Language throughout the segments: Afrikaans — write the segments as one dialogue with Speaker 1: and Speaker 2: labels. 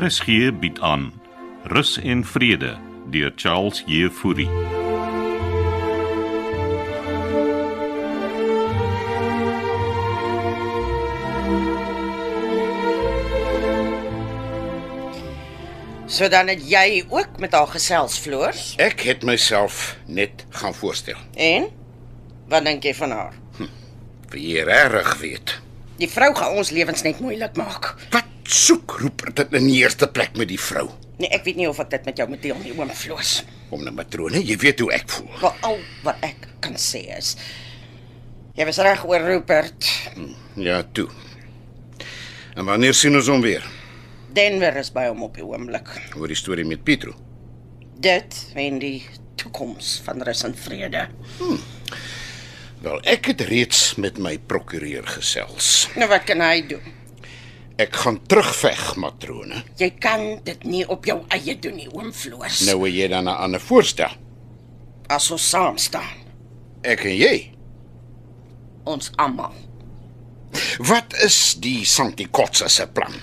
Speaker 1: RSG bied aan Rus en Vrede deur Charles Jefouri.
Speaker 2: So dan het jy ook met haar gesels floor.
Speaker 3: Ek het myself net gaan voorstel.
Speaker 2: En wat dink jy van haar?
Speaker 3: Wie regtig weet.
Speaker 2: Die vrou gaan ons lewens net moeilik maak.
Speaker 3: Wat soek Rupert dit in die eerste plek met die vrou?
Speaker 2: Nee, ek weet nie of ek dit met jou moet deel nie, oom Floos.
Speaker 3: Om 'n nou, matrone, jy weet hoe ek voel.
Speaker 2: Maar al wat ek kan sê is jy was reg oor Rupert.
Speaker 3: Ja, toe. En wanneer sien ons hom weer?
Speaker 2: Denver is by hom op die oomblik.
Speaker 3: Oor die storie met Pietro.
Speaker 2: Dit en die toekoms van rus en vrede.
Speaker 3: Wel, ek het reeds met my prokureur gesels.
Speaker 2: Nou wat kan hy doen?
Speaker 3: Ek gaan terugveg, matrone.
Speaker 2: Jy kan dit nie op jou eie doen nie, oom Floos.
Speaker 3: Nou wil jy dan 'n ander voorstel.
Speaker 2: As ons saam staan,
Speaker 3: Ek en jy.
Speaker 2: ons almal.
Speaker 3: Wat is die Santikotsa se plan?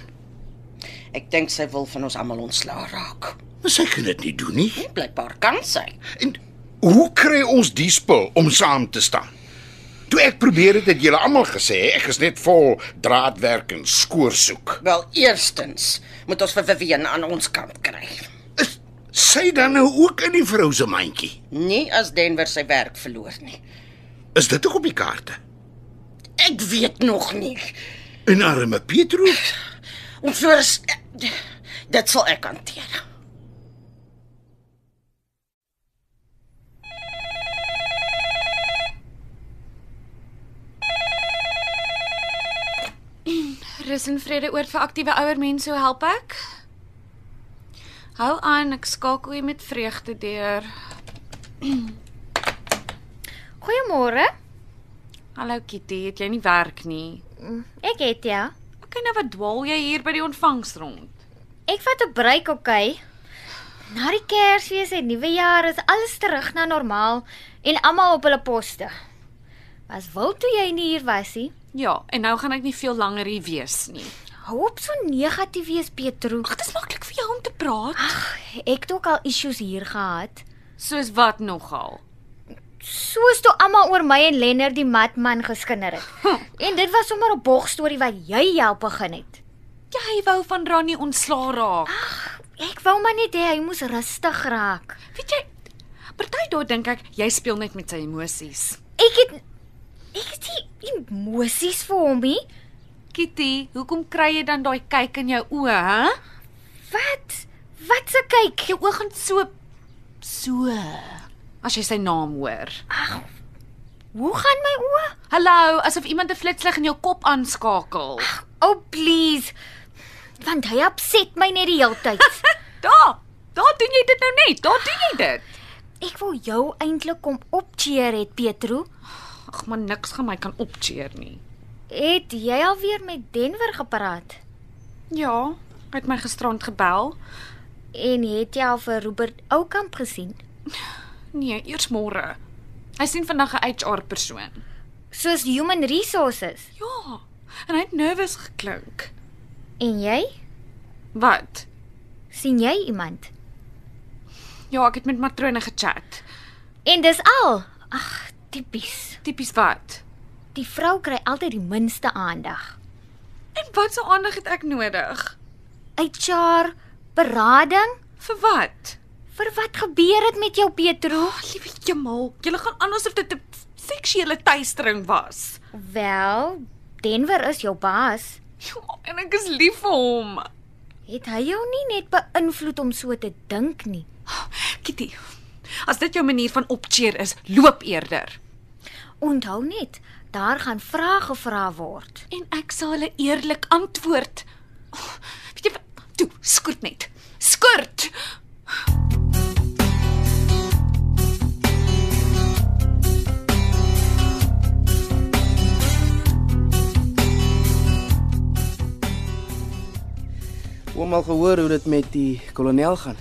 Speaker 2: Ek dink sy wil van ons almal ontslaa raak.
Speaker 3: Maar sy kan dit nie doen nie.
Speaker 2: Blykbaar kan sy.
Speaker 3: En hoe kry ons die spul om saam te staan? Toe ek probeer het, het julle almal gesê ek is net vol draadwerk en skoorsoek.
Speaker 2: Wel, eerstens moet ons vir Vivian aan ons kant kry.
Speaker 3: Is sy dan nou ook in die vrou se mandjie?
Speaker 2: Nie as Denver sy werk verloor nie.
Speaker 3: Is dit ook op die kaarte?
Speaker 2: Ek weet nog nie.
Speaker 3: En arme Pietro?
Speaker 2: Om Floris eh, dit sal ek hanteer.
Speaker 4: Rus en vrede oor vir aktiewe ouer mense, hoe help ek? Hou aan, ek skakel u met vreugde deur.
Speaker 5: Goeiemôre.
Speaker 4: Hallo Kitty, het jy nie werk nie?
Speaker 5: Ek het ja.
Speaker 4: Ek kyk nou wat dwaal jy hier by die ontvangs rond.
Speaker 5: Ek vat 'n break, okay. Na die Kersfees en Nuwejaar is alles terug na normaal en almal op hulle poste. Was wild toe jy nie hier was nie.
Speaker 4: Ja, en nou gaan ek nie veel langer hier wees nie.
Speaker 5: Hou op so negatief wees, Pietro.
Speaker 4: Ag, dit is maklik vir jou om te praat.
Speaker 5: Ek het ook al issues hier gehad.
Speaker 4: Soos wat nogal.
Speaker 5: Soos toe almal oor my en Lenner die matman geskinder het. En dit was sommer 'n bogstorie wat jy help begin het.
Speaker 4: Jy Ja, wou van Ronnie ontslaa raak.
Speaker 5: Ek wou maar net hê hy moes rustig raak.
Speaker 4: Weet jy, party daar dink ek jy speel net met sy emosies.
Speaker 5: Ek het ek het nie emosies vir hom nie.
Speaker 4: Kitty, hoekom kry jy dan daai kyk in jou oë, hè?
Speaker 5: Wat? Wat se kyk?
Speaker 4: Jou oë gaan so so as jy sy naam hoor.
Speaker 5: Hoe gaan my oë?
Speaker 4: Hallo, asof iemand 'n flitslig in jou kop aanskakel.
Speaker 5: Oh please. Want hy upset my net die hele tyd.
Speaker 4: Daar, daar doen jy dit nou net. Daar doen jy dit.
Speaker 5: ek wou jou eintlik kom opcheer het, Pietro.
Speaker 4: Ag man, niks gaan my kan opcheer nie.
Speaker 5: Het jy al weer met Denver gepraat?
Speaker 4: Ja, hy het my gisterand gebel.
Speaker 5: En het jy al vir Robert Oukamp gesien?
Speaker 4: Nee, eers môre. Hy sien vandag 'n HR persoon.
Speaker 5: Soos human resources.
Speaker 4: Ja, en hy het nervus geklink.
Speaker 5: En jy?
Speaker 4: Wat?
Speaker 5: sien jy iemand?
Speaker 4: Ja, ek het met matrone gechat.
Speaker 5: En dis al. Ag, tipies.
Speaker 4: Tipies wat?
Speaker 5: Die vrou kry altyd die minste aandag.
Speaker 4: En wat se aandag het ek nodig?
Speaker 5: HR, berading,
Speaker 4: Vir wat?
Speaker 5: vir wat gebeur het met jou, Pietro?
Speaker 4: Liewe jemal, jy gaan aan asof dit 'n seksuele teistering was.
Speaker 5: Wel, Denver is jou baas.
Speaker 4: Ja, en ek is lief vir hom.
Speaker 5: Het hy jou nie net beïnvloed om so te dink nie?
Speaker 4: Kitty, as dit jou manier van opcheer is, loop eerder.
Speaker 5: Onthou net, daar gaan vrae gevra word.
Speaker 4: En ek sal hulle eerlik antwoord. Oh, weet jy wat? Toe, skort net. Skort.
Speaker 6: Oom al gehoor hoe dit met die kolonel gaan.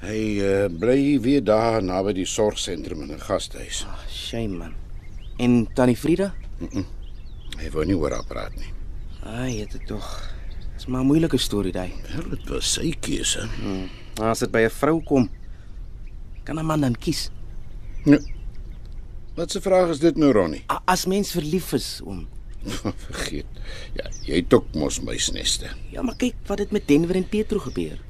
Speaker 3: Hy uh, bly weer daar naby die sorgsentrum in 'n gastehuis.
Speaker 6: Ag, shame man. En tannie Frida?
Speaker 3: Hy wou nie oor haar praat nie.
Speaker 6: Ai, dit is tog. Dis maar 'n moeilike storie daai.
Speaker 3: Wel, dit was sy keuse.
Speaker 6: Maar As dit by 'n vrou kom, kan 'n man dan kies.
Speaker 3: Nou, wat 'n vraag is dit nou, Ronnie?
Speaker 6: A- As mens verlief is om.
Speaker 3: Vergeet. Ja, jy het ook mos muisneste.
Speaker 6: Ja, maar kyk wat het met Denver en Petro gebeur.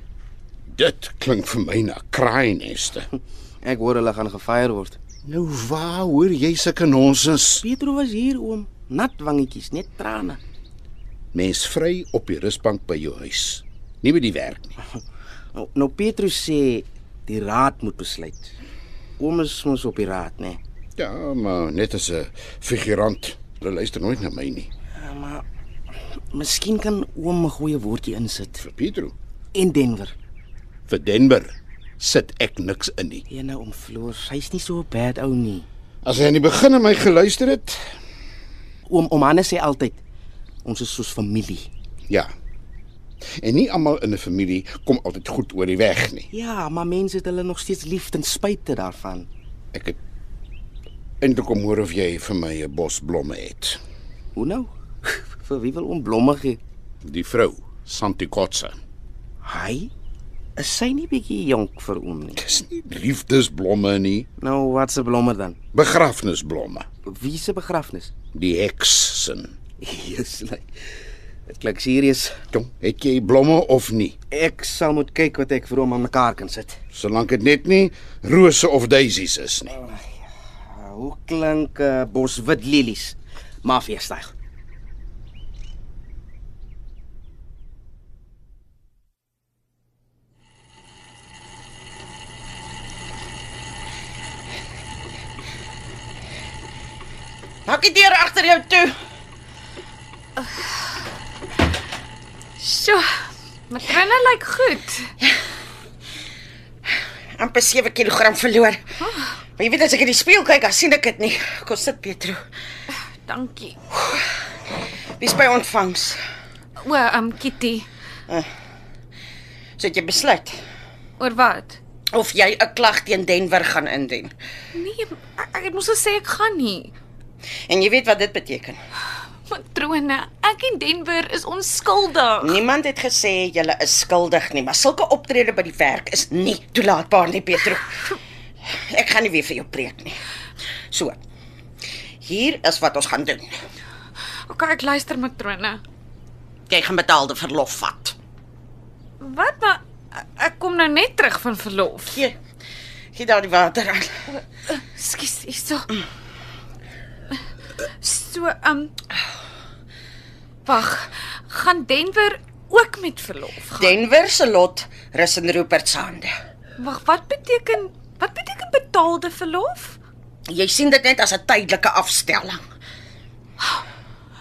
Speaker 3: Dit klink vir my na kraaineste.
Speaker 6: Ek hoor hulle gaan gefire word.
Speaker 3: Nou waar hoor jy sulke nonsens?
Speaker 6: Petro was hier oom, nat wangetjies, net trane.
Speaker 3: Mens vry op die rusbank by jou huis. Nie by die werk nie.
Speaker 6: Nou, nou Petro sê die raad moet besluit. Oom is ons op die raad, né? Nee.
Speaker 3: Ja, maar net as 'n figurant. Hulle luister nooit na my nie.
Speaker 6: Ja, maar miskien kan oom 'n goeie woordjie insit.
Speaker 3: Vir Pietro,
Speaker 6: En Denver.
Speaker 3: vir Denver sit ek niks in nie.
Speaker 6: Ene om Floor, hy's nie so 'n bad ou nie.
Speaker 3: As hy aan die begin aan my geluister het,
Speaker 6: Oom oom Hannes sê altyd ons is soos familie.
Speaker 3: ja. En nie almal in 'n familie kom altyd goed oor die weg nie.
Speaker 6: Ja, maar mense het hulle nog steeds lief ten spyte daarvan.
Speaker 3: Ek het eintlik kom hoor of jy vir my 'n bos blomme het.
Speaker 6: Hoe nou? Vir wie wil oom blomme gee?
Speaker 3: Die vrou, Santikotsa.
Speaker 6: Hy is sy nie bietjie jonk vir oom nie.
Speaker 3: Dis nie liefdesblomme nie,
Speaker 6: Nou wat se blomme dan?
Speaker 3: begrafnisblomme.
Speaker 6: Wie se begrafnis?
Speaker 3: Die heks sin.
Speaker 6: Jesuslei. Dit klink serieus.
Speaker 3: Jong, het jy blomme of nie?
Speaker 6: Ek sal moet kyk wat ek vir hom aan mekaar kan sit.
Speaker 3: Solank dit net nie rose of daisies is nie.
Speaker 6: Uh, hoe klink
Speaker 2: eh,
Speaker 6: 'n uh, bos wit lelies? Mafia styl.
Speaker 2: Maak die deur agter jou toe.
Speaker 4: Sjoe. My krane lyk goed.
Speaker 2: amper 7 kg verloor. Maar jy weet as ek in die spieël kyk, dan sien ek dit nie. Kom sit Petro.
Speaker 4: Ja, Dankie.
Speaker 2: Wie's by ontvangs?
Speaker 4: O, um Kitty.
Speaker 2: So het jy besluit
Speaker 4: Oor wat?
Speaker 2: of jy 'n klag teen Denver gaan indien.
Speaker 4: Nee, ek, ek het mos gesê ek gaan nie.
Speaker 2: En jy weet wat dit beteken.
Speaker 4: Matrone, ek en Denver is onskuldig.
Speaker 2: Niemand het gesê jy is skuldig nie, maar sulke optrede by die werk is nie toelaatbaar nie, Petro. Ek gaan nie weer vir jou preek nie. So. Hier is wat ons gaan doen.
Speaker 4: OK, ek luister matrone.
Speaker 2: Jy gaan betaalde verlof vat.
Speaker 4: Wat maar ek- ek kom nou net terug van verlof.
Speaker 2: Gee. Gee daar die water aan.
Speaker 4: Skus, ek so. So, um Wag, gaan Denver ook met verlof? gaan?
Speaker 2: Denver se lot rus in Rupert se hande.
Speaker 4: Wag, wat beteken wat beteken betaalde verlof?
Speaker 2: Jy sien dit net as 'n tydelike afstelling.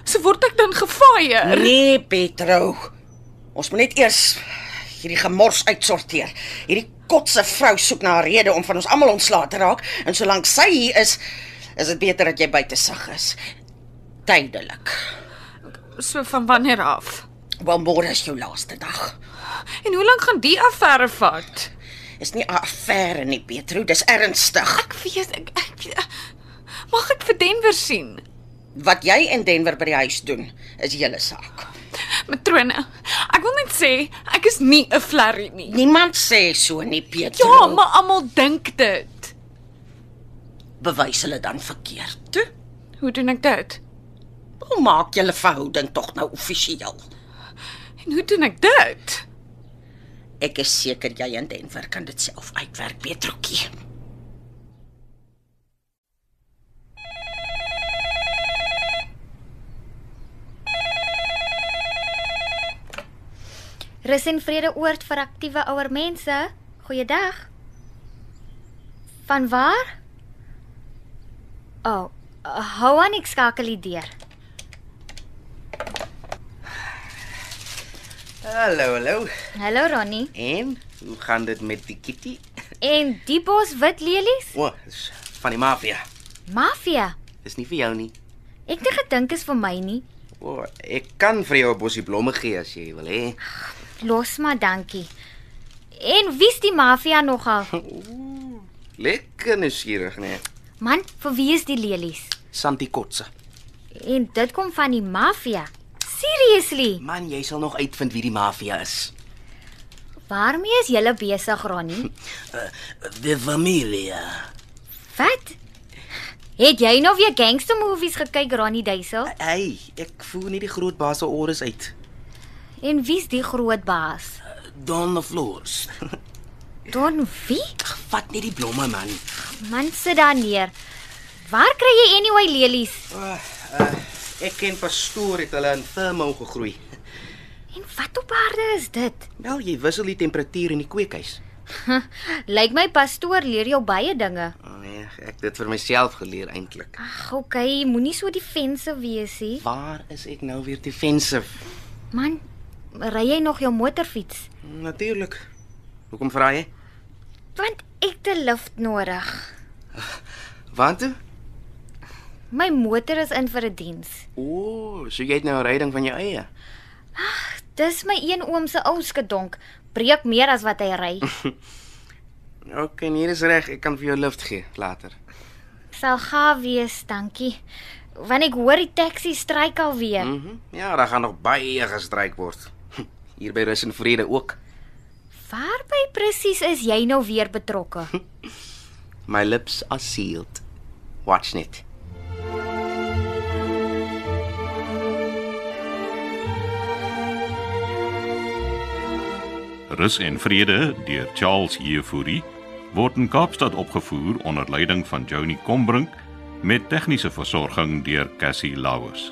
Speaker 4: So word ek dan gefire.
Speaker 2: Nee, Petro. Ons moet net eers hierdie gemors uitsorteer. Hierdie kotse vrou soek na 'n rede om van ons almal ontslae te raak en solank sy hier is, is dit beter dat jy buite sig is. Tydelik.
Speaker 4: So van wanneer af?
Speaker 2: Wel môre is jou laaste dag.
Speaker 4: En hoe lank gaan die affære vat?
Speaker 2: Is nie 'n affære nie, Petro, dis ernstig.
Speaker 4: Ek weet ek, ek weet- mag ek vir Denver sien.
Speaker 2: Wat jy in Denver by die huis doen, is julle saak.
Speaker 4: Matrone, ek wil net sê ek is nie 'n flerry nie.
Speaker 2: Niemand sê so nie, Petro.
Speaker 4: Ja, maar almal dink dit.
Speaker 2: bewys hulle dan verkeerd. Toe,
Speaker 4: Hoe doen ek dit?
Speaker 2: hoe maak julle verhouding tog nou offisieel?
Speaker 4: En hoe doen ek dit?
Speaker 2: Ek is seker jy en Denver kan dit self uitwerk, Petrotjie.
Speaker 5: Rus en vrede oord vir aktiewe ouer mense. Goeiedag. Van waar? O, oh, hou aan ek skakel die deur.
Speaker 6: Hallo, hallo.
Speaker 5: Hallo Ronnie.
Speaker 6: En hoe gaan dit met die kitty?
Speaker 5: En die bos wit lelies?
Speaker 6: O, oh, dis van die mafia.
Speaker 5: Mafia.
Speaker 6: Dis nie vir jou nie.
Speaker 5: Ek het nie gedink is vir my nie.
Speaker 6: O, oh, ek kan vir jou 'n bosie blomme gee as jy wil hê.
Speaker 5: Los maar dankie. En wie's die mafia nogal?
Speaker 6: Lekker nuuskierig, né? Nee.
Speaker 5: Man, vir wie is die lelies?
Speaker 6: Santi Kotse.
Speaker 5: En dit kom van die mafia. Seriously.
Speaker 6: Man, jy sal nog uitvind wie die mafia is.
Speaker 5: Waarmee is jy besig, Ronnie?
Speaker 6: Die familia.
Speaker 5: Wat? Het jy nou weer gangster movies gekyk, Ronnie Duisel?
Speaker 6: Hey, ek voel nie die groot baas se ore is uit.
Speaker 5: En wie's die groot baas?
Speaker 6: Don Flores.
Speaker 5: Don wie?
Speaker 6: Vat net die blomme man.
Speaker 5: Man sit daar neer. Waar kry jy anyway lelies?
Speaker 6: Uh, uh, ek ken pastoor het hulle in Thermo gegroei.
Speaker 5: En wat op aarde is dit?
Speaker 6: Wel, jy wissel die temperatuur in die kweekhuis.
Speaker 5: Lyk my pastoor leer jou baie dinge.
Speaker 6: Oh, nee, ek het dit vir myself geleer eintlik.
Speaker 5: Ag, okay, moenie so defense wees nie.
Speaker 6: Waar is ek nou weer defensive?
Speaker 5: Man, ry jy nog jou motorfiets?
Speaker 6: Natuurlik. Hoekom vra jy?
Speaker 5: Want ek het 'n lift nodig.
Speaker 6: Want
Speaker 5: My motor is in vir 'n die diens.
Speaker 6: o, oh, so jy het nou 'n ryding van jou eie.
Speaker 5: Dis my een oom se ou skedonk, breek meer as wat hy ry.
Speaker 6: OK, hier is reg. Ek kan vir jou lift gee later.
Speaker 5: Sal gaaf wees, dankie. Want ek hoor die taxi stryk alweer.
Speaker 6: Mhm. Mm ja, daar gaan nog baie gestryk word. Hier by Rus en Vrede ook.
Speaker 5: Waarby presies is jy nou weer betrokke?
Speaker 6: My lips are sealed. Watch net.
Speaker 1: Rus en Vrede deur Charles Jefouri word in Kaapstad opgevoer onder leiding van Johnny Combrink met tegniese versorging deur Cassie Lauers.